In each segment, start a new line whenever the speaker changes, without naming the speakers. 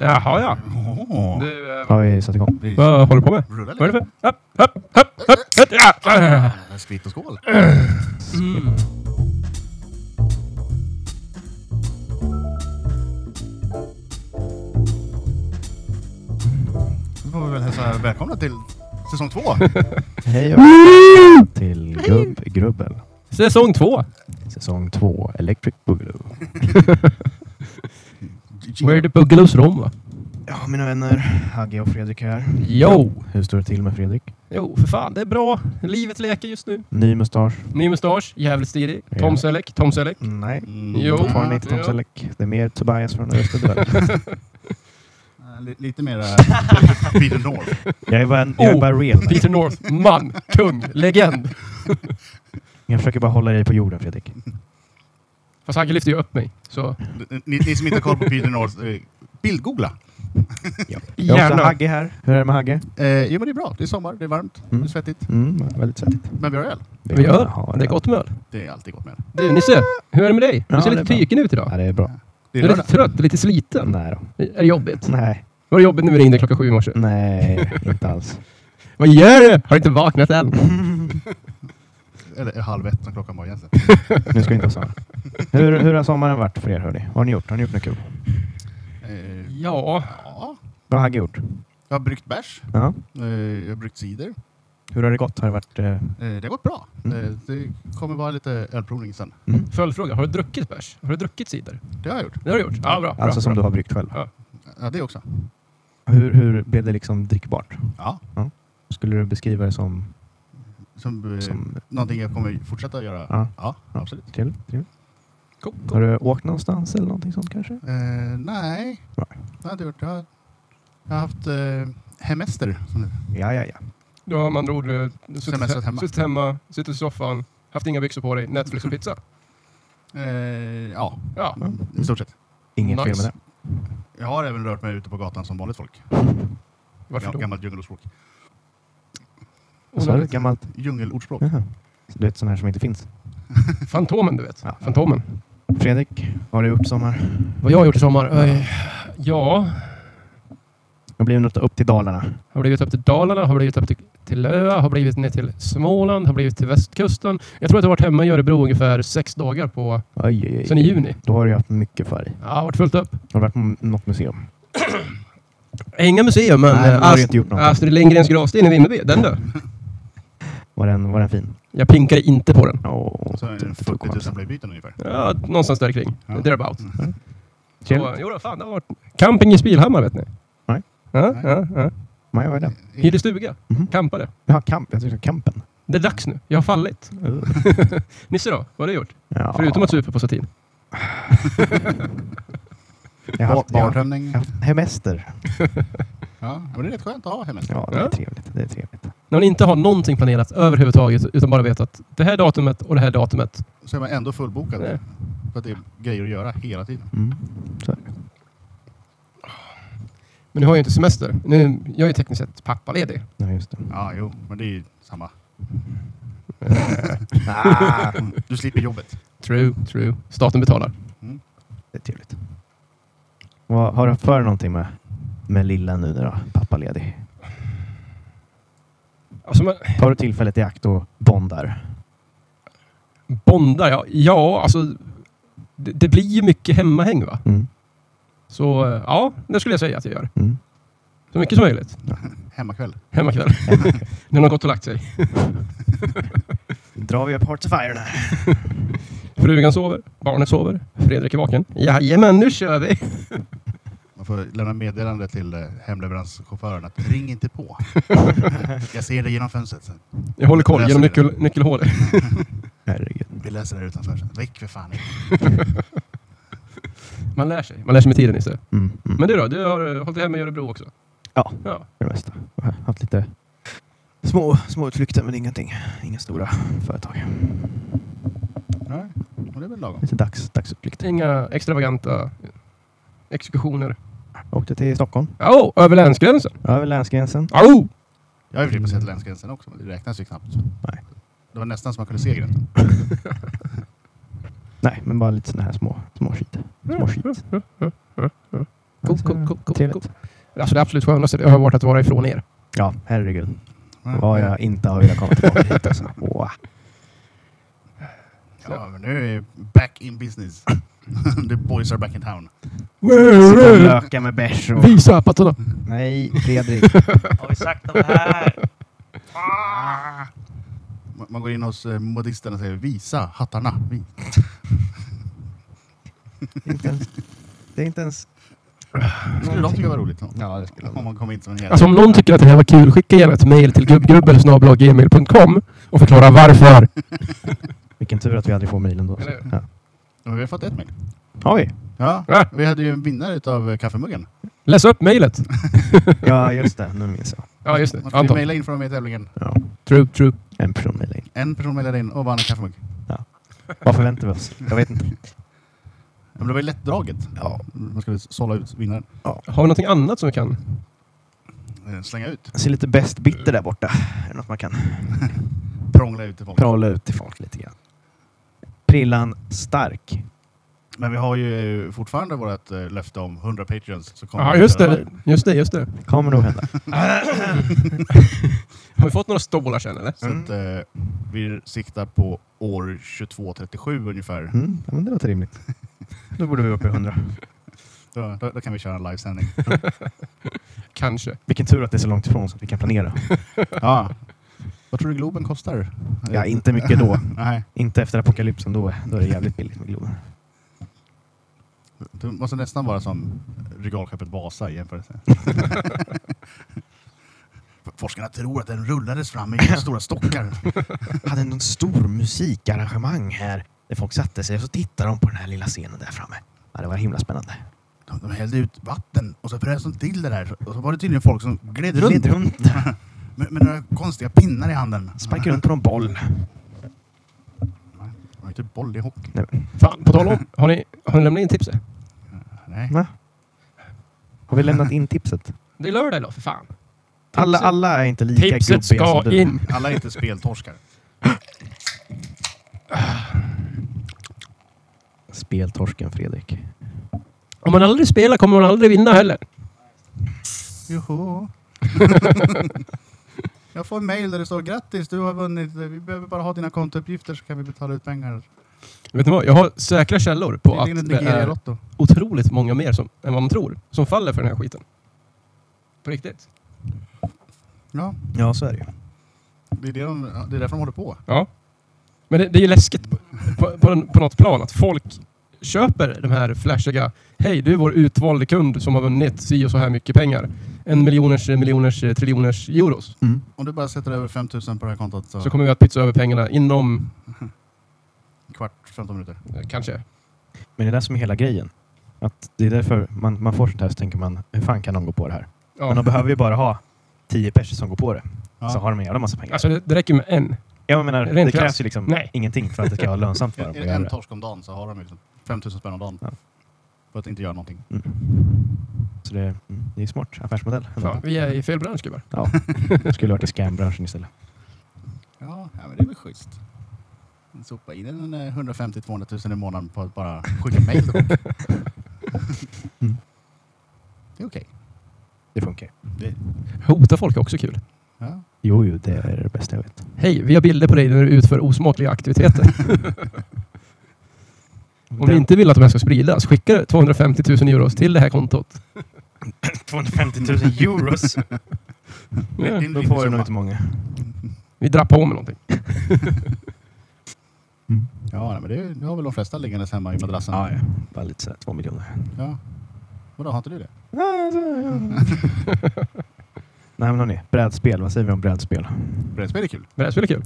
Jaha ja.
Åh,
Du, eh,
Har vi satt igång?
vi
vad håller du på med?
rullar
Vad är det
lite.
för? Upp, upp, upp, upp, upp, ja.
Eh, Skvitt och skål. Mm. Nu får vi väl hälsa välkomna till säsong två.
Hej och välkomna till Gubb Grubbel,
Säsong två.
säsong 2, Electric Boogaloo.
Where the Boogaloo's Rom va?
Ja, mina vänner, Hagge och Fredrik här.
Jo.
Hur står det till med Fredrik?
Jo, för fan. Det är bra. Livet leker just nu.
Ny mustasch?
Ny mustasch. Jävligt stilig.
Ja.
Tom Selleck. Tom Selleck.
Nej,
Mm.
Jo.
fortfarande inte Tom
Ja.
Selleck. Det är mer Tobias från Österdörren.
Eh, li- Lite mer eh, Peter- Peter North.
jag är bara, en, jag är
Oh.
bara real. man.
Peter North. Man. Kung. Legend.
Jag försöker bara hålla dig på jorden, Fredrik.
Fast han lyfte ju upp mig. Så
Ni, ni som inte har koll på Peter North, eh, bildgoogla.
Jag har också
gärna.
Hagge här. Hur är det med Hagge?
Eh, Jo men det är bra. Det är sommar, det är varmt, det är svettigt.
Mm, väldigt svettigt.
Men vi har öl.
Vi
Ja,
gör. Det är gott med öl.
Det är alltid gott med det.
Du Nisse. Hur är det med dig? Du
Ja,
ser
det
lite
är bra.
tyken ut
Ja,
idag.
det är bra.
Det
Du
är
är lite
lördag.
trött. Lite sliten.
Nej då.
Är det jobbigt?
Nej,
Var det jobbigt när vi ringde klockan sju i morse?
nej, inte alls.
Vad gör du? Har du inte vaknat än?
Eller halv ett som klockan var egentligen.
Nu ska vi inte ha sådana. Hur, hur har sommaren varit för er hörni? Vad har ni gjort? Har ni gjort något kul?
Eh,
Ja,
Ja,
Vad har Hagge gjort?
jag har bryggt bärs.
Ja.
Eh, Jag har bryggt cider.
Hur har det gått? Har det varit... eh,
Eh, Det har gått bra.
Mm.
Eh, Det kommer vara lite ölprovning sen.
följdfråga. Har du druckit bärs? Har du druckit cider?
Det har jag gjort.
Det har du gjort? Ja, bra. bra,
alltså som
bra.
du har bryggt själv?
Ja, det också.
Hur, hur blev det liksom drickbart?
Ja.
Skulle du beskriva det som...
Som, eh,
som
Någonting jag kommer fortsätta göra.
Ja.
Ja, absolut.
trevligt, trevligt.
Cool,
Har
cool.
du åkt någonstans eller någonting sånt kanske?
Eh, nej,
Nej.
det har jag inte gjort. Jag har, jag har haft eh, hemester. som det-
Ja, ja, ja.
Du har med andra ord eh, suttit hemma.
Semestrat hemma.
suttit hemma, suttit i soffan, haft inga byxor på dig, Netflix och pizza.
Eh, ja,
Ja,
Mm.
i stort sett.
Inget
Nice.
fel med det.
Jag har även rört mig ute på gatan som vanligt folk.
varför
Gam-
då?
Gammalt djungelordspråk.
Vad sa du? Gammalt?
Djungelordspråk.
Jaha. Så Du vet sådana här som inte finns.
Fantomen, du vet.
Ja.
Fantomen.
Fredrik, vad har du gjort i sommar?
Vad jag har gjort i sommar? Eh, Ja,
Jag blev något upp till Dalarna.
har blivit upp till Dalarna, har blivit upp till, till Öa, har blivit ner till Småland, har blivit till västkusten. Jag tror att jag har varit hemma i Örebro ungefär sex dagar på,
Oj, oj, oj.
sen i juni.
Då har du ju haft mycket för dig.
Ja, har varit fullt upp.
Har du varit på m- något museum?
Inga museum, men,
Nej, men
eh,
då har du
Ast-
inte gjort något.
Astrid Lindgrens gravsten i Vimmerby, den du.
Var den, var den fin? Typ-
Jag pinkade inte på den.
Åh,
Så är det 40 000 blöjbyten ungefär.
Ja, någonstans där kring.
Ja.
Thereabout.
Mm. Trevligt.
Så, jo då, fan, det har varit camping i Spilhammar vet ni.
Nej.
Ja,
Nej.
ja, ja.
Nej, vad är det?
Hyrde stuga.
Mhm.
Campade.
Jaha, kamp. Jag tyckte kampen.
Det är dags nu. Jag har fallit. Nisse då, vad har du gjort?
Ja.
Förutom att supa på satin.
jag har haft, jag har
Bartömning.
jag har haft hemester.
Ja, men det är rätt skönt att ha hemester.
Ja, det är
Ja.
trevligt. Det är trevligt.
När man inte har någonting planerat överhuvudtaget utan bara vet att det här datumet och det här datumet.
Så är man ändå fullbokad.
Nej.
För att det är grejer att göra hela tiden.
Mm. Så är det.
Men nu har jag ju inte semester. Nu, jag är ju tekniskt sett pappaledig.
Ja, just det.
Ja, jo, men det är ju samma.
Ah,
Du slipper jobbet.
True, true. Staten betalar.
det är trevligt. Vad har du haft för någonting med, med lilla nu då? Pappaledig.
Alltså, man,
Tar du tillfället i akt och bondar?
bondar, ja. Ja, alltså. Det, det blir ju mycket hemmahäng va.
Mm.
Så eh, ja, det skulle jag säga att jag gör.
Mm.
Så mycket som möjligt.
Hemmakväll.
Hemmakväll. När någon gått och lagt sig.
drar vi upp Hearts of Iron här.
Frugan sover, barnet sover, Fredrik är vaken. Jajamän, nu kör vi!
Man får lämna meddelande till eh, hemleveranschauffören att ring inte på. Jag ser dig genom fönstret. Sen.
Jag håller koll
Läser
genom
vi
nyckel, nyckelhålet.
Herregud.
Vi läser det här utanför sen. Väck för fan.
Man lär sig. Man lär sig med tiden Nisse.
Mm. Mm.
Men du då? Du har eh, hållit hemma i Örebro också?
Ja.
ja.
för det mesta. Jag har haft lite små, små utflykter men ingenting. Inga stora företag.
Nej, men det är väl lagom.
Lite dags, dagsutflykter.
Inga extravaganta exekutioner.
Jag åkte till Stockholm.
Åh, över länsgränsen!
Över länsgränsen.
Åh!
Jag har ju i och för sig passerat länsgränsen också, men det räknas ju knappt.
Nej.
Det var nästan som man kunde se gränsen.
Nej, men bara lite sådana här små, små skit. Små skit.
Cool,
Så,
cool, cool, cool,
trevligt.
Alltså det absolut skönaste det har varit att vara ifrån er.
Ja, herregud.
Men-
Vad jag inte har velat komma tillbaka hit alltså. Åh.
Ja, men nu är vi back in business. The boys are back in town.
Sitta och löka med bärs och...
Visa pattarna!
Nej, Fredrik.
Har vi sagt om det här?
Man- Man går in hos eh, modisterna och säger visa hattarna. Vi-
Det är inte ens... Det är inte ens...
Det skulle de tycka var roligt. no?
Ja, det skulle
Om man kom in som en jävel.
Alltså om någon tycker att det här var kul, skicka gärna ett mejl till gubbgubbel.gmail.com och förklara varför.
Vilken tur att vi aldrig får mejlen då.
Eller hur?
Ja.
Men vi har fått ett mejl.
Har vi?
Ja,
Ja.
vi hade ju en vinnare utav eh, kaffemuggen.
Läs upp mejlet!
Ja, just det. Nu minns jag.
Ja, just det.
Man skulle
Anton.
mejla in från med i tävlingen.
Ja.
True, true.
En person mejlade in.
En person mejlade in och vann en kaffemugg.
Vad förväntar vi oss? Jag vet inte.
Ja, Men det var ju lättdraget.
Ja.
Man skulle sålla ut vinnaren.
Har vi någonting annat som vi kan?
Eh, Slänga ut.
Jag ser lite bäst bitter där borta. Är det något man kan
Prångla ut till folk.
pråla ut till folk lite grann? Prillan stark.
Men vi har ju eh, fortfarande vårt eh, löfte om 100 patreons. Så kommer
Ja,
vi
just
köra
det.
live.
Just det, just det.
Kommer nog hända.
Har vi fått några stålar sen eller?
Så att,
Mm.
eh, vi siktar på år 2237 ungefär.
Mm, ja, men det låter rimligt. Då borde vi upp i 100.
Då, då, då kan vi köra en livesändning.
Kanske.
Vilken tur att det är så långt ifrån så att vi kan planera.
ja. Vad tror du Globen kostar?
Ja, inte mycket då.
Nej,
Inte efter apokalypsen. Då, är- då är det jävligt billigt med Globen.
det måste nästan vara som regalskeppet Vasa i jämförelse. Forskarna tror att den rullades fram med stora stockar.
hade någon stor musikarrangemang här där folk satte sig och så tittade de på den här lilla scenen där framme. Ja, det var himla spännande.
De, de hällde ut vatten och så frös de till det där. Och så var det tydligen folk som gled runt
Gled runt där,
Med, med några konstiga pinnar i handen.
sparkade runt på någon boll.
Det var inte boll i hockey.
Nej, men,
Fan, på tal om. Har ni, har ni lämnat in tipset?
Nej.
va? Har vi lämnat in tipset?
Det är lördag idag för fan.
Alla,
Tipset-
alla är inte lika
Tipset
gubbiga
ska
som du.
in.
Alla är inte speltorskar.
Speltorsken Fredrik.
Om man aldrig spelar kommer man aldrig vinna heller.
Joho. Jag får en mail där det står grattis, du har vunnit. Vi behöver bara ha dina kontouppgifter så kan vi betala ut pengar.
Vet ni vad? Jag har säkra källor på
Ring in
att
ett
det är
Nigeria-lotto.
otroligt många mer som, än vad man tror som faller för den här skiten. På riktigt.
Ja,
Ja, så är det ju.
det är, det, de, det är därför de håller på.
Ja. Men det, det är ju läskigt på, på, på, en- på något plan att folk köper de här flashiga Hej, du är vår utvalde kund som har vunnit si och så här mycket pengar. En miljoners, miljoners, eh, triljoners euros.
Om du bara sätter över 5000 på det här kontot så,
Så kommer vi att pytsa över pengarna inom,
kvart, 15 minuter.
eh, kanske.
Men det är det som är hela grejen. Att det är därför man, man får sånt här så tänker man, hur fan kan de gå på det här? Men de
Ja.
behöver ju bara ha tio personer som går på det.
Ja.
Så har de en jävla massa pengar.
Alltså det, det räcker med en.
Jag menar,
Rent
det
krasst.
krävs ju liksom
Nej.
ingenting för att det ska vara lönsamt för
är,
dem att
är det
göra
en
det.
torsk om dagen så har de liksom 5000 spänn om dagen.
Ja.
För att inte göra någonting.
Mm. Så det, mm, det är smart affärsmodell. ändå.
Fan, vi är i fel bransch gubbar.
Ja. Skulle varit i scambranschen istället.
Ja, ja men det är väl schysst. Sopa in en eh, 150-200 tusen i månaden på att bara skicka mejl till folk.
Mm.
Det är okej.
Det funkar.
Det-
Hota folk är också kul.
Ja.
Jo, jo, det är det bästa jag vet.
Hej, vi har bilder på dig när du utför osmakliga aktiviteter. Om vi inte vill att de här ska spridas, skicka 250 000 euros till det här kontot.
250 000 euros!
Ja,
en
Då
rimlig
får du
summa.
nog inte många.
vi drar på med någonting.
Mm. Ja, nej, men det, det har väl de flesta liggandes hemma i madrassen.
Ja, ja. Bara lite sådär, två miljoner.
Ja. Vadå, har inte du det?
Nej, men hörni. Brädspel. Vad säger vi om brädspel?
Brädspel är kul.
Brädspel är kul.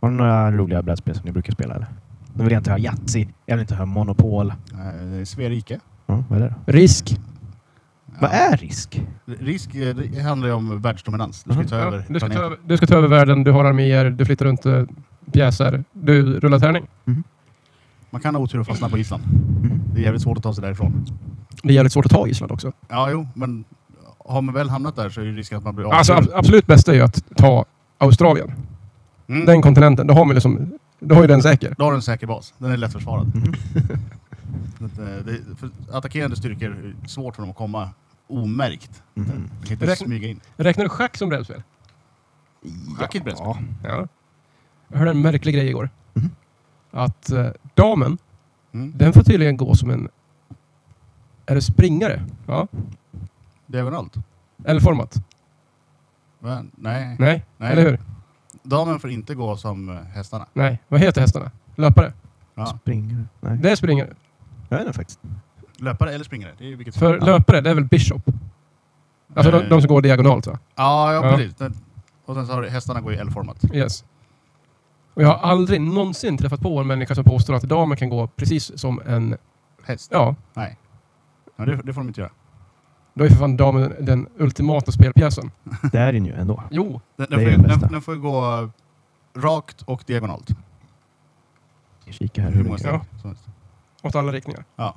Har ni några roliga brädspel som ni brukar spela? Eller? Nu vill jag inte ha Yatzy. Jag vill inte ha Monopol.
Eh, Sverige.
Ja, vad är det då?
Risk.
Vad är risk?
Risk eh, det handlar ju om världsdominans. Du ska ju ta
Mm-hmm. Ja,
över
du, ska ta
planeten.
över, du ska ta över världen, du har arméer, du flyttar runt eh, pjäser, du rullar tärning.
Man kan ha otur och fastna på Island.
Mm.
Det är jävligt svårt att ta sig därifrån.
Det är jävligt svårt att ta Island också.
Ja, jo, men har man väl hamnat där så är det risken att man blir
Alltså, ab- absolut bästa är ju att ta Australien. alltså,
Mm.
Den kontinenten, då har, man liksom, då har ju den säker. Mm-hmm.
Då har du en säker bas. Den är lättförsvarad. Så att, eh, det, för attackerande styrkor är svårt för dem att komma omärkt.
Mhm.
De kan inte
Mm. Räkn-
smyga in.
Räknar du schack som brädspel?
Schack är ett brädspel.
Ja.
Ja. Jag hörde en märklig grej igår.
Mhm.
Att eh, damen,
Mm.
den får tydligen gå som en... Är det springare? Ja.
Det är överallt.
L-format?
Men, nej.
Nej.
Nej.
Mm. Eller hur?
Damen får inte gå som eh, hästarna.
Nej. Vad heter hästarna? Löpare?
Ja.
Springer Nej.
Det är springare.
Jag vet inte faktiskt.
Löpare eller springare. Det är ju vilket som-
För
ja.
löpare, det är väl bishop? Alltså de,
Eh.
de som går diagonalt va?
Ja, ja,
Ja.
precis. Den- Och sen så har du, hästarna går i L-format.
Yes. Och jag har aldrig någonsin träffat på en människa som påstår att damen kan gå precis som en...
Häst?
Ja,
Nej. Ja, det, det får de inte göra.
då är för fan damen den ultimata spelpjäsen.
Det är den ju ändå.
Jo,
Den,
Det
den,
är
får, ju-
det bästa.
den, den får ju gå rakt och diagonalt.
Jag kikar här.
Hur
Hur
många
mycket.
steg som helst.
åt alla riktningar.
Ja.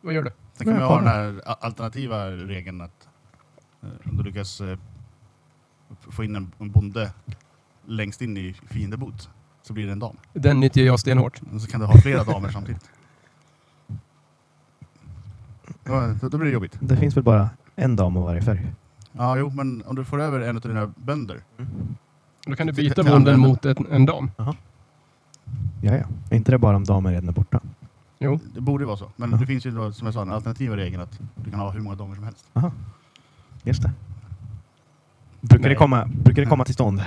Vad gör du?
Sen kan
Ja,
man ju ha den
kolla.
här a- alternativa regeln att eh, om du lyckas eh, f- få in en, en bonde längst in i fiendebot så blir det en dam.
Den nyttjar jag stenhårt.
Och så kan du ha flera damer samtidigt. Ja, då- då blir det jobbigt.
Det finns väl bara en dam av varje färg?
Ja, jo, men om du får över en av dina bönder.
Mm.
Då kan du
Till-
byta
till
bonden
användaren.
mot en, en dam.
Ja, ja. Är inte det bara om damer redan är borta?
Jo.
Det borde ju vara så. Men
Ja.
det finns ju då, som jag sa, den alternativa regeln att du kan ha hur många damer som helst.
Aha. Just det. Brukar det,
Nej.
komma, brukar det komma till stånd?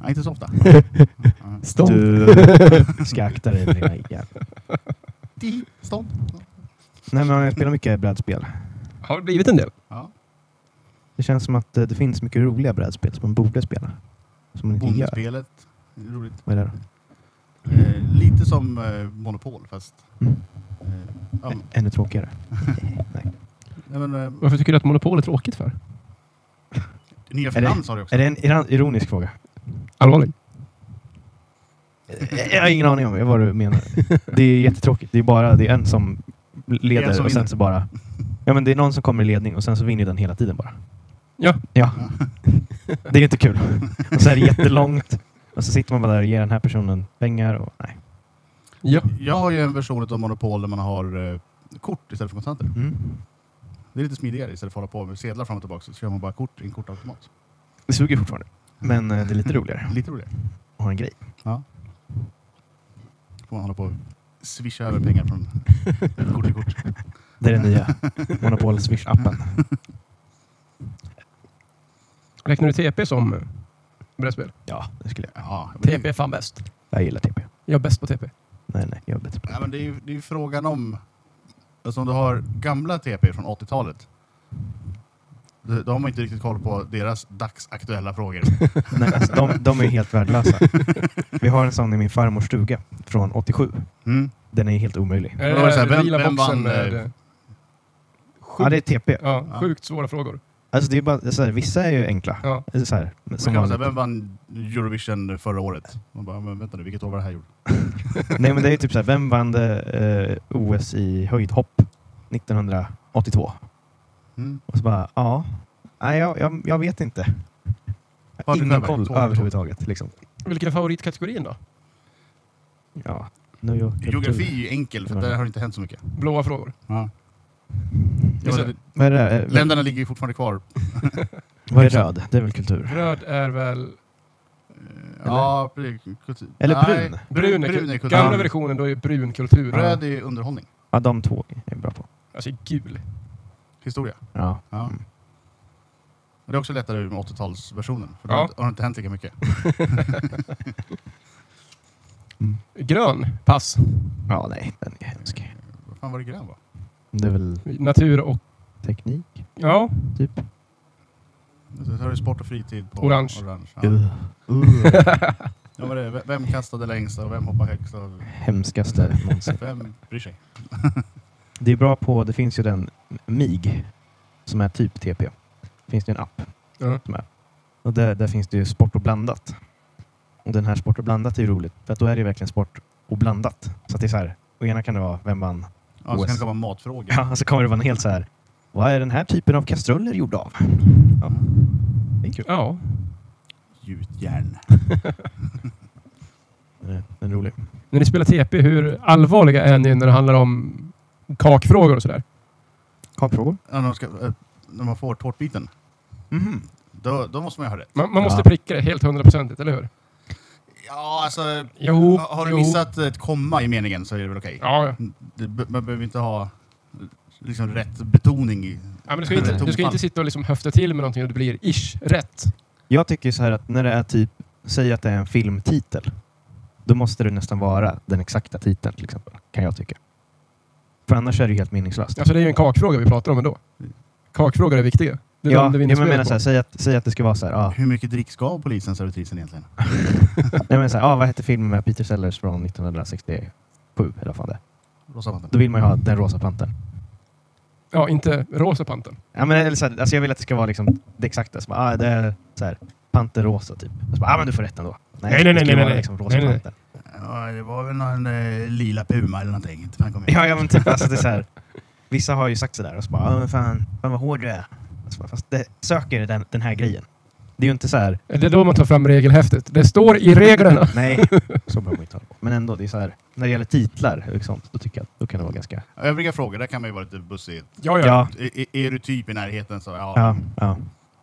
Ja, inte så ofta. Ja.
Stånd.
Du ska akta dig. lilla jävel.
Di, Stånd.
Nej, men jag spelar mycket brädspel.
Har det blivit en del?
Ja.
Det känns som att eh, det finns mycket roliga brädspel som man borde spela. Som man inte gör.
Bondspelet. Roligt.
Vad är det då?
Eh, lite som eh, Monopol fast...
Mm.
Eh, ja, men-
Ännu tråkigare. Nej.
nej, men, eh,
Varför tycker du att monopol är tråkigt för?
nya
Är det-
Finans har det också.
Är det en iran- ironisk fråga?
Allvarligt?
Eh, Jag har ingen aning om vad du menar. Det är jättetråkigt. Det är bara det är en som leder
Det är en som
och sen
vinner.
så bara... Ja, men det är någon som kommer i ledning och sen så vinner den hela tiden bara.
Ja.
Ja. Det är ju inte kul. Och så är det jättelångt. Och så sitter man bara där och ger den här personen pengar. Och, nej.
Ja.
Jag har ju en version av Monopol där man har eh, kort istället för kontanter.
Mm.
Det är lite smidigare istället för att hålla på med sedlar fram och tillbaka. Så kör man bara kort i en kortautomat.
Det suger fortfarande. Men eh, det är lite roligare
Lite roligare.
att ha en grej.
Får man hålla på och swisha över pengar från kort till kort.
Det är den nya Monopol Swish-appen.
Räknar du TP som eh, brädspel?
Ja, det skulle jag.
Ja, men det,
TP är fan bäst.
Jag gillar TP.
Jag är bäst på TP.
Nej, nej, jag är bättre på
ja,
det.
men det, är ju, det är ju frågan om... Alltså om du har gamla TP från 80-talet. Då då har man inte riktigt koll på deras dagsaktuella frågor.
Nej, alltså, de, de är ju helt värdelösa. Vi har en sån i min farmors stuga från 87.
Mm.
Den är ju helt omöjlig.
Är
Då var det så här,
den
vem-
lila
vem
boxen
vann,
med,
eh,
eh,
Ja, det är TP.
Ja,
Ja.
sjukt svåra frågor.
Alltså, det är bara, så här, vissa är ju enkla.
Ja.
Så här,
Som
som
kan man säga,
vanligt.
vem vann Eurovision förra året? Man bara, men vänta nu, vilket år var det här gjort?
Nej, men det är ju typ så här, vem vann det, eh, OS i höjdhopp 1982?
Mm.
Och så bara, ja. Nej, jag, jag, jag vet inte. Jag
Har
har
du
ingen
över?
koll
Tål-
överhuvudtaget. Liksom.
Vilken är favoritkategorin då?
Ja. Nu, är jag-
Geografi är ju enkel, för där har det inte hänt så mycket.
Blåa frågor.
Ja.
Just det.
det,
Vad är det? där? Eh,
länderna ligger ju fortfarande kvar. Eh,
Vad är röd? Det är väl kultur?
Röd är väl...
Ja, precis. Kultur.
Eller
Nej,
brun?
Brun är,
brun är kultur.
Gamla
Ja.
versionen då är brun kultur.
Röd är ju underhållning.
Ja, de två är jag bra på.
Alltså gul.
Historia.
Ja.
Ja.
Mm.
Men det är också lättare med 80-talsversionen, för då
Ja.
har det inte hänt lika mycket.
Grön. Pass.
ja, nej, den är hemsk.
Vad fan var det grön va?
Det är väl
Natur och...
teknik,
Ja.
typ?
Så har du sport och fritid på
Orange.
ja.
Ugh. Ugh.
Ja, men det, är- vem kastade längst och vem hoppade högst? Och
Hemskaste någonsin.
vem bryr sig?
Det är bra på, det finns ju den MIG, som är typ TP. Det finns ju en app.
Ja.
Och där, där finns det ju sport och blandat. Och den här sport och blandat är ju roligt, för att då är det ju verkligen sport och blandat. Så att det är så här, och ena kan det vara vem vann?
Ja, så
OS.
kan det komma matfrågor.
Ja, så kommer det vara en helt så här, vad är den här typen av kastruller gjord av? Ja. Det är kul.
Ja.
Gjutjärn.
Eh, Den är- den svinrolig.
När ni spelar TP, hur allvarliga är ni när det handlar om kakfrågor och sådär?
Kakfrågor?
Ja, när, de ska, eh, när man får tårtbiten,
Mhm.
då, då måste man ju ha rätt.
Man, man måste
Ja.
pricka det helt hundraprocentigt, eller hur?
Ja, alltså...
Jo.
Har du
jo.
missat ett komma i meningen så är det väl okej.
Ja, ja.
Det be- Man behöver inte ha liksom, rätt betoning. I.
Ja, men du ska ju inte, du ska ju inte sitta och liksom höfta till med någonting och det blir ish rätt.
Jag tycker så här att när det är typ, säg att det är en filmtitel, då måste det nästan vara den exakta titeln till exempel, kan jag tycka. För annars är det ju helt meningslöst.
Alltså det är ju en kakfråga vi pratar om ändå. Kakfrågor är viktiga. Det
ja,
dömde vi
ja,
in
men jag
spelet
menar
på.
så här, säg, att, säg att det ska vara så här, ja,
Hur mycket dricks gav polisen servitrisen egentligen?
jag menar så här, ja vad hette filmen med Peter Sellers från 1967? Eller vad fan det är?
Rosa vatten.
Då vill man ju ha den rosa panten.
Ja, inte rosa panten.
Ja, men, eller så här, alltså jag vill att det ska vara liksom det exakta. Så bara, ah, det är så här, panter rosa typ. Och så bara, ah, men du får rätt ändå.
Nej, nej, nej,
det ska
nej,
ju vara
nej.
Liksom, rosa
Nej, nej.
panter.
Ja, det var väl någon eh, lila puma eller någonting. Inte fan kom jag ihåg.
Ja, ja, men typ alltså det är så här. Vissa har ju sagt sådär och så bara, ah, men fan, fan vad hård du är. Alltså, bara, fast det, söker den, den här grejen. Det är ju inte så här,
Det är då man tar fram regelhäftet. Det står i reglerna.
nej, så behöver man inte hålla på. Men ändå, det är så här, när det gäller titlar och sånt, då tycker jag att då kan det vara ganska...
Övriga frågor, där kan man ju vara lite bussig.
Ja, ja.
Är, är- är du typ i närheten så ja,
ja,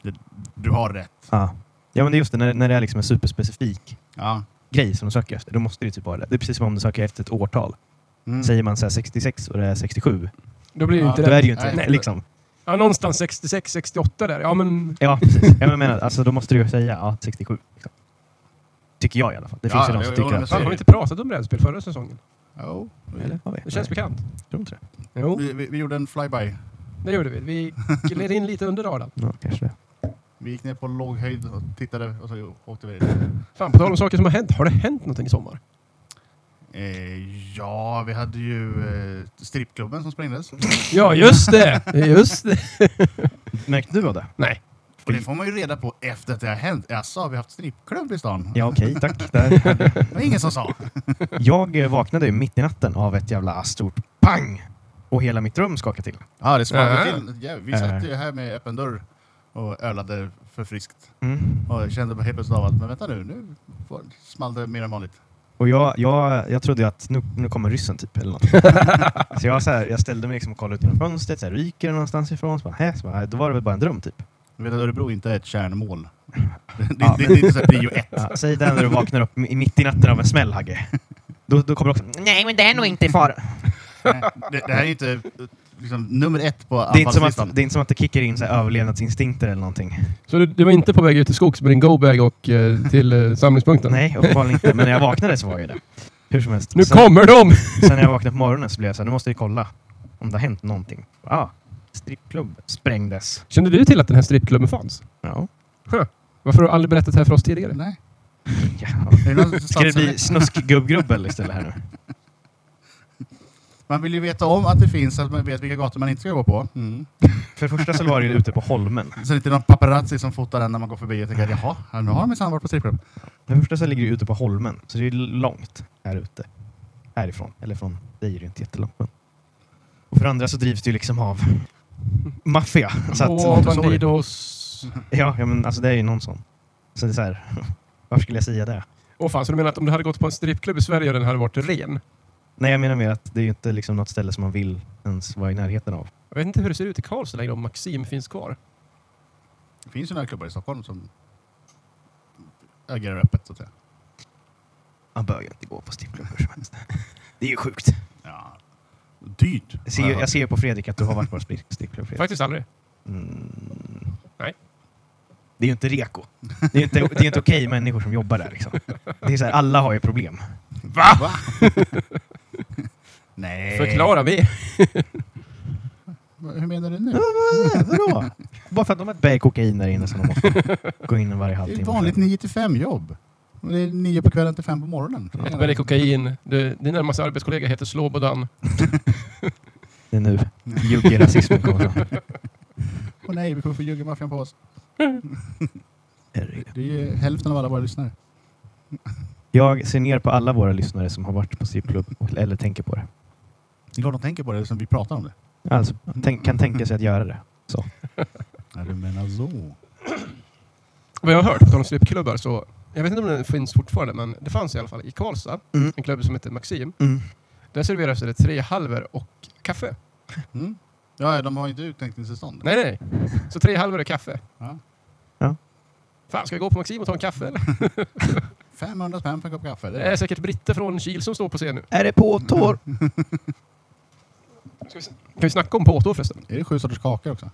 ja.
du har rätt.
ja. ja men det är just det, när, när det är liksom en superspecifik
Ja.
grej som de söker efter, då måste det ju typ vara det. Det är precis som om de söker efter ett årtal.
Mm.
Säger man så här 66 och det är 67,
Då blir det ju
Ja,
inte
då är
rätt.
det ju inte
Nej.
nej. liksom.
Ja, någonstans 66, 68 där. Ja, men...
Ja, precis. Jag menar, alltså, då måste du ju säga ja, 67. Liksom. Tycker jag i alla fall. Det
Ja,
finns ju
ja,
de som
jo,
tycker
men
att...
Fan, har vi
det-
inte pratat om brädspel förra säsongen?
Jo.
Eller? Har vi?
Det känns
Nej,
bekant.
jag tror inte det.
Jo,
Vi, vi, vi gjorde en flyby.
det gjorde vi. Vi gled in lite under radarn.
Ja, kanske det.
Vi gick ner på låg höjd och tittade och så åkte vi.
Fan, på tal om saker som har hänt. Har det hänt någonting i sommar?
Eh, ja, vi hade ju eh, strippklubben som sprängdes.
Ja, just det! Just det.
Märkte du av det?
Nej.
Och det får man ju reda på efter att det har hänt. Jaså, har vi haft strippklubb i stan?
Ja, okej, tack. Där.
Det var ingen som sa.
Jag eh, vaknade ju mitt i natten av ett jävla stort pang! Och hela mitt rum skakade till.
Ja, det smakade
Äh.
till. Ja, vi satt ju här med öppen dörr och ölade för friskt.
Mm.
Och jag kände på helt plötsligt av att, men vänta nu, nu var- small det mer än vanligt.
Och jag, jag, jag trodde ju att nu, nu kommer ryssen typ, eller någonting. så jag, så här, jag ställde mig liksom och kollade ut genom fönstret, så här, ryker det någonstans ifrån? Så bara, hä? Så bara, "Nej, då var det väl bara en dröm typ.
Du vet att Örebro inte är ett kärnmål. Det, det,
Ja.
det, det är inte så här prio ett.
Ja, säg det när du vaknar upp i- mitt i natten av en smäll, Hagge. Då, då kommer du också... Nej, men det är nog inte fara.
Nej, Det, det här är inte eh, liksom, nummer ett på
Det är, inte som att,
anfallslistan.
det är inte som att det kickar in så här, överlevnadsinstinkter eller någonting.
Så du, du var inte på väg ut till skogs med din go-bag och eh, till eh, samlingspunkten?
Nej, uppenbarligen inte. Men när jag vaknade så var jag det. Hur som helst.
Nu
sen,
kommer de!
sen när jag vaknade på morgonen så blev jag så här, nu måste vi kolla om det har hänt någonting. Ja, ah, strippklubb sprängdes.
Kände du till att den här strippklubben fanns?
Ja.
Varför har du aldrig berättat det här för oss tidigare?
Nej.
ja.
Är det någon som
Ska det
satsar-
bli snuskgubbgrubbel istället här nu?
Man vill ju veta om att det finns, så att man vet vilka gator man inte ska gå på. Mm.
För det första så var det ju ute på Holmen.
Så det är inte någon paparazzi som fotar en när man går förbi och tänker att, jaha, här- nu har de minsann varit på strippklubb.
För det första så ligger det ute på Holmen, så det är ju långt här ute. Härifrån. Eller från dig är det ju inte jättelångt. Men. Och för det andra så drivs det ju liksom av maffia. Så att,
Åh, Bandidos...
ja, ja, men alltså det är ju någon sån. Så det är så här, varför skulle jag säga det?
Åh fan, så du menar att om du hade gått på en strippklubb i Sverige och den hade varit ren?
Nej, jag menar mer att det är ju inte liksom något ställe som man vill ens vara i närheten av.
Jag vet inte hur det ser ut i Karlstad längre om Maxim finns kvar.
Det finns ju några klubbar i Stockholm som agerar öppet, så att säga.
Man bör ju inte gå på strippklubb hur som helst. Det är ju sjukt.
Ja. Dyrt.
Jag ser, ju- jag ser ju på Fredrik att du har varit på strip- strippklubb. Fredrik.
Faktiskt aldrig.
Mm.
Nej.
Det är ju inte reko. Det är ju inte, det är ju inte okej människor som jobbar där. Liksom. Det är så här, alla har ju problem.
Va?
Eh.
Nej.
Förklara vi.
Va- Hur menar du nu?
Vadå? Bara för att de har ett berg kokain där inne som de måste gå in varje
Det är
halvtimme.
ett vanligt 9 till 5 jobb. Och det är 9 på kvällen till 5 på morgonen.
Ett berg kokain. Du, din närmaste arbetskollega heter Slobodan.
Det är nu juggerasismen kommer fram.
Och nej, vi kommer få juggemaffian på oss.
Herregud.
Det är ju hälften av alla våra lyssnare.
Jag ser ner på alla våra lyssnare som har varit på strippklubb eller tänker på det.
Det är klart de tänker på det som vi pratar om det.
Alltså, tänk, kan tänka sig att göra det. Så.
Ja, du menar så.
Vad jag har hört på tal om strippklubbar så Jag vet inte om den finns fortfarande, men det fanns i alla fall i Karlstad,
Mm.
en klubb som heter Maxim.
Mm.
Där serverades det tre halver och kaffe.
Mm. Ja, de har inte uttänkningstillstånd.
Nej, nej. Så tre halver och kaffe.
Ja.
Ja.
Fan, ska vi gå på Maxim och ta en kaffe? Eller?
500 spänn för en kopp kaffe.
Det
Det
är
är.
säkert Britte från Kil som står på scen nu.
Är det på tår?
Ska vi, s- kan vi snacka om påtår förresten?
är det sju sorters kakor också?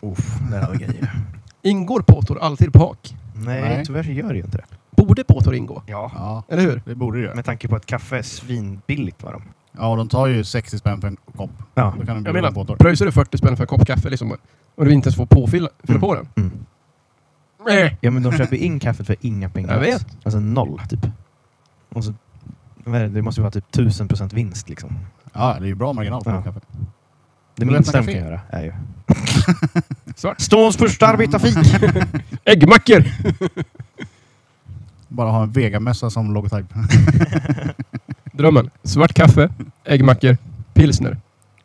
Uff, där har vi grejer.
Ingår påtår alltid på hak?
Nej,
Nej.
tyvärr så gör det ju inte det.
Borde påtår ingå?
Ja.
Ja,
Eller hur?
det borde det göra.
Med tanke på att kaffe är svinbilligt var de.
Ja, och de tar ju 60 spänn för en kopp.
Ja.
Då kan de
Jag
bjuda på
menar,
tår.
pröjsar du 40 spänn för en kopp kaffe liksom, och du inte ens får påfylla, fylla på den?
Mm.
Nej.
ja, men de köper in kaffet för inga pengar.
Jag vet.
alls. Alltså noll, typ. Och så, vad är det? det måste ju vara typ 1000 procent vinst, liksom.
Ja, det är ju bra marginal på
Ja.
kaffe.
Det
Men
minsta de
öppna
kan
café.
göra är ju...
Svart.
Ståns första arbetarfik!
Äggmackor!
Bara ha en vegamössa som logotyp.
Drömmen. Svart kaffe, äggmackor, pilsner.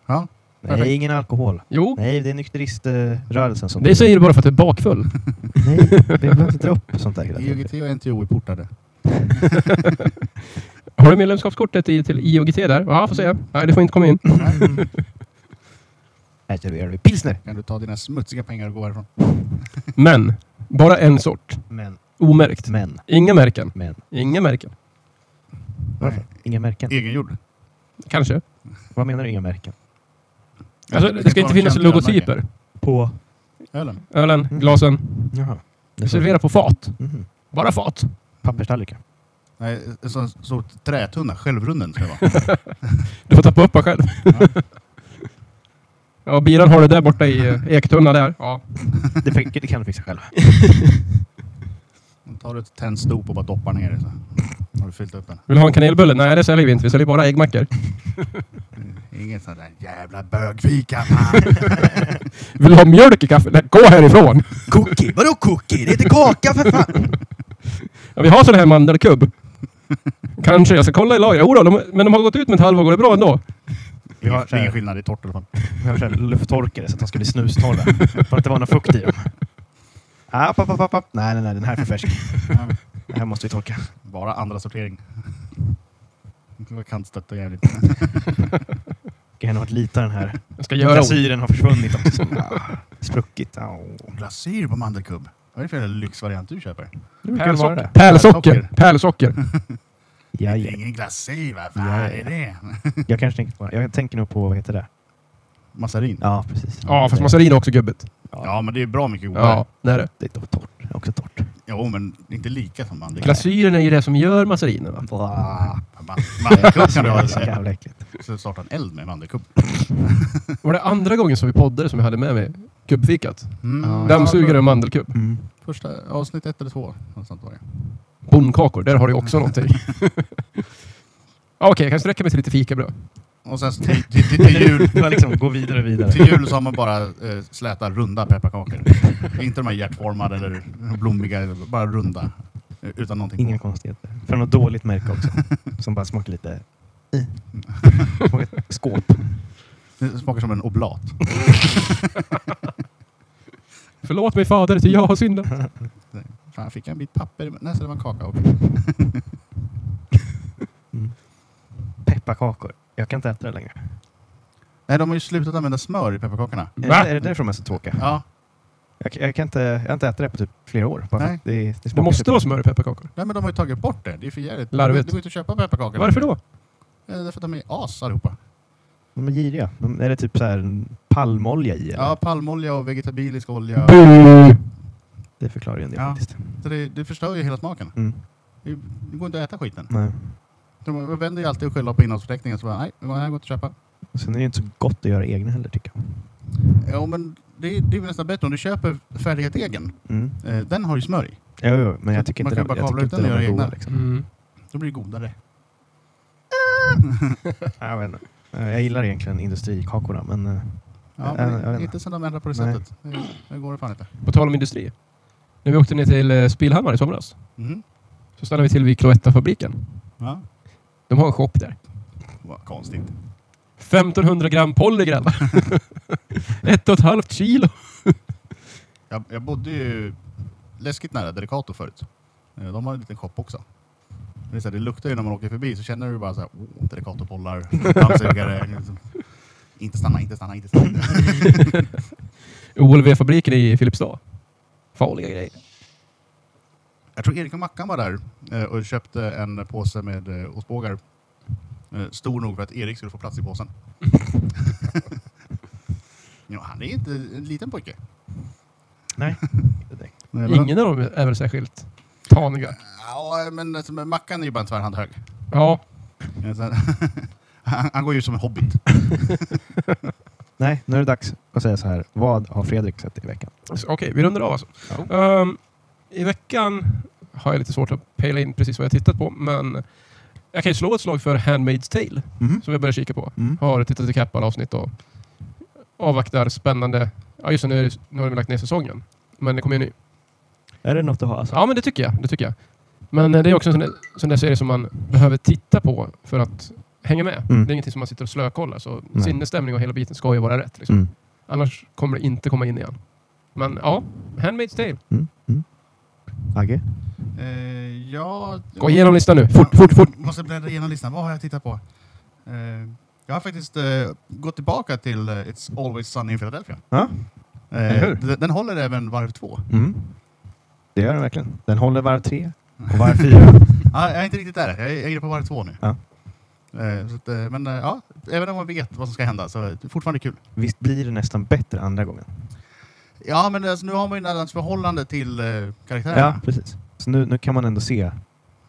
ja.
Nej, ingen alkohol.
Jo,
Nej, det är nykteriströrelsen som...
det säger du bara för att du är bakfull.
Nej, vi behöver inte dra upp sånt där hela tiden.
IOGT och NTO är portade.
Har du medlemskapskortet i, till IOGT där? Ja, får se. Nej, det får inte komma in.
Nej, det gör vi. Äh, Pilsner!
Kan du ta dina smutsiga pengar och gå härifrån?
Men, bara en sort.
Men,
Omärkt.
men,
Inga märken.
men.
Inga märken.
Varför? Inga märken?
Egengjord.
Kanske.
Vad menar du inga märken?
Alltså, det ska inte finnas logotyper.
På?
Ölen.
Ölen,
Mm.
glasen.
Jaha. Det är så.
Servera på fat.
Mhm.
Bara fat.
Papperstallrikar.
Nej, en sån stor trätunna. Självrunden ska det vara.
Du får tappa upp den själv. Ja, bilen har du där borta i eh, ektunna där. Ja.
Det, fick- det kan du fixa själv.
Då tar du ett tändstop och bara doppar ner det så. Har du fyllt upp den?
Vill du ha en kanelbulle? Nej, det säljer vi inte. Vi säljer bara äggmackor.
Ingen sån där jävla bögfika. fan.
Vill du ha mjölk i kaffet? Nej, gå härifrån!
Cookie? Vadå cookie? Det heter kaka för fan!
Ja, vi har sån här mandelkubb. Kanske. Jag ska kolla i lagret. Jodå, de, men de har gått ut med ett halvår. Går det bra ändå?
Vi har
Det är ingen
såhär-
skillnad i torrt i alla fall.
vi har såhär lufttorkare så att de ska bli snustorra. För att det inte vara någon fukt i dem. Ah, papp, papp, papp. Nej, nej, nej. Den här är för färsk. Den här måste vi torka.
Bara andra sortering. Det var kantstött och jävligt.
Kan gärna vara den här.
Jag ska göra ord.
Glasyren har försvunnit också. Ah, Spruckit. Au.
Glasyr på mandelkubb. Vad är det för jävla lyxvariant du köper?
Det brukar vara
Pärlsocker. Pärlsocker.
det.
Pärlsocker.
Pärlsocker.
Ja,
Det är
ja.
ingen glasyr, vad
Ja,
fan
ja.
är det?
Jag kanske tänker på Jag tänker nog på, vad heter det?
Massarin?
Ja, precis.
Ja, fast massarin är också gubbigt.
Ja, men det är bra mycket godare.
Ja, det är det.
Det är dock torrt. Också torrt.
Jo, men inte lika som mandelkubb.
Glasyren är ju det som gör massarinen, va?
Bra.
Man- Mandelkubb kan du
Det är
ha.
så jävla äckligt.
Så starta en eld med mandelkubb.
Var det andra gången som vi poddade som jag hade med mig kubbfikat?
Ja.
Dammsugare och mandelkubb.
Mm.
Första avsnitt ett eller två. något sånt var det.
Bondkakor, där har du också någonting. Ja, Okej, jag kan sträcka mig till lite fikabröd.
Och sen så till, till, till, till jul.
Det var liksom, gå vidare och vidare.
Till jul så har man bara eh, släta runda pepparkakor. Inte de här hjärtformade eller blommiga, bara runda. Eh, Utan någonting
Inga
på.
konstigheter. För något dåligt märke också. Som bara smakar lite... Smakar ett skåp.
Det smakar som en oblat.
Förlåt mig fader, till jag har syndat.
Fan, jag fick en bit papper. i- Nej, så det var en kaka. Okej.
Pepparkakor. Jag kan inte äta det längre.
Nej, de har ju slutat använda smör i pepparkakorna.
Är
Va?
det, är det därför de är så tråkiga?
Ja,
Jag, jag, kan inte, jag har inte ätit det på typ flera år. Bara för
Nej.
att det, det
Det
smakar
måste
typ-
vara smör i pepparkakor.
nej men de har ju tagit bort det. Det är för jävligt.
Larvigt.
Det går inte att köpa pepparkakor.
Varför då?
Eh, Därför att de är as allihopa.
De är giriga. De, är det typ så här palmolja i? Eller?
Ja, palmolja och vegetabilisk olja.
Bu!
Det förklarar ju en del
Ja.
faktiskt.
Så det, det förstör ju hela smaken.
Mm.
Det det går inte att äta skiten.
Nej.
De de vänder ju alltid och skyller på innehållsförteckningen. Så bara, nej, det här går inte att köpa.
Och Sen är det ju inte så gott att göra egna heller tycker jag.
Ja, men det, är- det är väl nästan bättre om du köper färdigdegen.
Mm.
Eh, den har ju smör i.
Jo, jo, men jag tycker
Man
inte
kan
de-
bara
jag
kavla
tycker
ut den
inte
och
de är
göra
goda,
egna.
Liksom.
Mm.
Då blir det godare.
Ja, Jag, vet inte. Eh, jag gillar egentligen industrikakorna, men eh,
Ja,
Ja,
men
jag vet
inte sen de ändrar på receptet. Det, det går det fan inte.
På tal om industri. När vi åkte ner till eh, Spillhammar i somras
Mhm.
så stannade vi till vid Cloetta-fabriken.
Ja.
De har en shop där.
Vad konstigt.
1500 gram Polly grabbar. Ett och ett halvt kilo.
Jag, jag bodde ju läskigt nära Delicato förut. Eh, Eh, De har en liten shop också. Det, är så här, det luktar ju när man åker förbi så känner du bara så här, oh, delikatobollar, dammsugare. liksom. Inte stanna, inte stanna, inte stanna.
OLV-fabriken i Filipstad. Farliga grejer.
Jag tror Erik och Mackan var där eh, och köpte en påse med eh, ostbågar. Eh, Stor nog för att Erik skulle få plats i påsen. ja, han är inte en liten pojke.
Nej.
Nej, men-
Ingen av dem är väl särskilt taniga.
Ja, men alltså, men Mackan är ju bara en tvärhand hög.
Ja,
Eh, så- Han, han går ju som en hobbit.
Nej, nu är det dags att säga så här. Vad har Fredrik sett i veckan?
så- okej, vi rundar av alltså.
Ja.
Ehm, I veckan har jag lite svårt att pejla in precis vad jag tittat på, men jag kan ju slå ett slag för Handmaid's Tale,
Mm.
som jag börjar kika på.
Mm.
Har tittat ikapp alla avsnitt och avvaktar spännande... Ja, just det, nu, är det, nu har de lagt ner säsongen, men det kommer ju en ny.
Är det något att ha alltså?
Ja, men det tycker jag. Det tycker jag. Men eh, det är också en sån där, sån där serie som man behöver titta på för att hänga med.
Mm.
Det är ingenting som man sitter och slökollar, så
Nej.
sinnesstämning och hela biten ska ju vara rätt. Liksom.
Mm.
Annars kommer det inte komma in igen. Men ja, Handmaid's Tale.
Mm. Mm. Agge?
Eh, ja,
Gå igenom listan nu. Fort, fort, fort.
Måste bläddra igenom listan. Vad har jag tittat på? Eh, jag har faktiskt eh, gått tillbaka till eh, It's Always Sunny in Philadelphia.
Ja.
Eh,
hur?
den, den håller även varv två.
Mm. Det gör den verkligen. Den håller varv tre och varv fyra.
Ja, jag är inte riktigt där. Jag är, jag är inne på varv två nu.
Ja.
Eh, så att, eh, men eh, ja, även om man vet vad som ska hända så är det fortfarande kul.
Visst blir det nästan bättre andra gången?
Ja, men alltså, nu har man ju ett annat förhållande till eh, karaktärerna.
Ja, precis. Så nu, nu kan man ändå se.
Ja,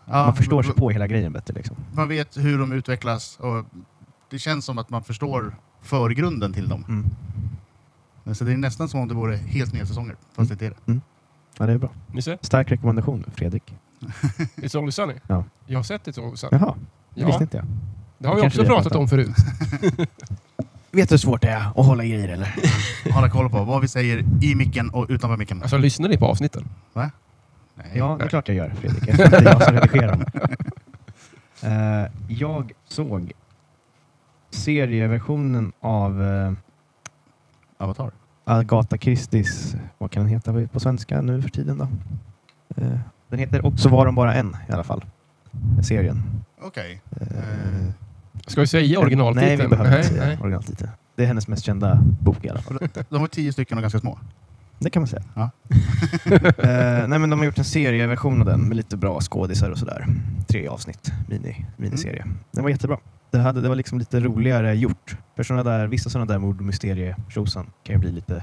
man förstår
man-
sig på hela grejen bättre. Liksom.
Man vet hur de utvecklas och det känns som att man förstår förgrunden till dem.
Mm.
Så det är nästan som om det vore helt nya säsonger, fast det inte är det.
Ja, det är bra.
Nisse,
Stark rekommendation, Fredrik.
It's Only Sunny.
Ja.
Jag har sett It's Only Sunny.
Jaha, det
Ja,
visste inte jag.
det har vi
Kanske
också
vi har
pratat
pratat.
om förut.
Vet du hur svårt det är att hålla grejer eller? Mm.
Hålla koll på vad vi säger i micken och utanför micken.
Alltså, lyssnar ni på avsnitten?
Nej.
Ja, det är klart jag gör Fredrik. Eftersom det är jag som redigerar dem. Eh, jag såg serieversionen av eh,
Avatar.
Agatha Christies, vad kan den heta på svenska nu för tiden då? Eh, den heter också Var de bara en i alla fall. Serien.
Okej.
Eh,
Ska vi säga originaltiteln?
Nej, vi behöver inte
nej.
säga originaltiteln. Det är hennes mest kända bok i alla fall.
De var tio stycken och ganska små.
Det kan man säga.
Ja.
Eh, nej, men de har gjort en serieversion av den med lite bra skådisar och sådär. Tre avsnitt, mini, miniserie. Den var jättebra. Det, hade, det var liksom lite roligare gjort. För såna där, vissa sådana där mord och mysterie-tjosan kan ju bli lite...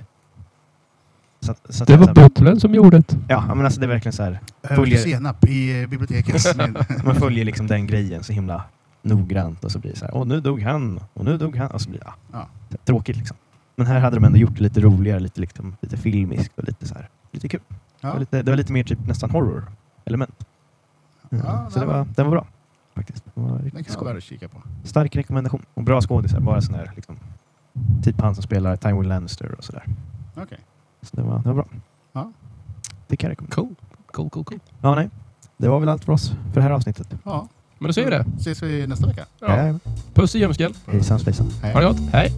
Så, så att- så-
Butlern som gjorde det.
Ja, men alltså det är verkligen så här.
Följer... Senap i eh, biblioteket. Med-
Man följer liksom den grejen så himla noggrant och så blir det så här, åh nu dog han och nu dog han. Och så blir det, ja. Tråkigt liksom. Men här hade de ändå gjort det lite roligare, lite, liksom, lite filmiskt och lite så här, lite kul. Det, var
ja.
lite, det var lite mer typ nästan horror-element. Mm.
Ja,
så det
nej,
var, den var bra faktiskt. Den var
Den
riktigt
kan vara att kika på.
Stark rekommendation. Och bra skådisar, bara sån här liksom, typ han som spelar Tywin Lannister och sådär.
Okej.
Så det var, det var bra.
Ja.
Det kan jag rekommendera.
Cool. Cool, cool, cool.
Ja, nej. Det var väl allt för oss för det här avsnittet.
Ja.
Men då säger vi det.
Ses vi nästa vecka.
Ja.
Ja.
Puss i ljumsken.
Hejsan svejsan.
Ha det gott. Hej.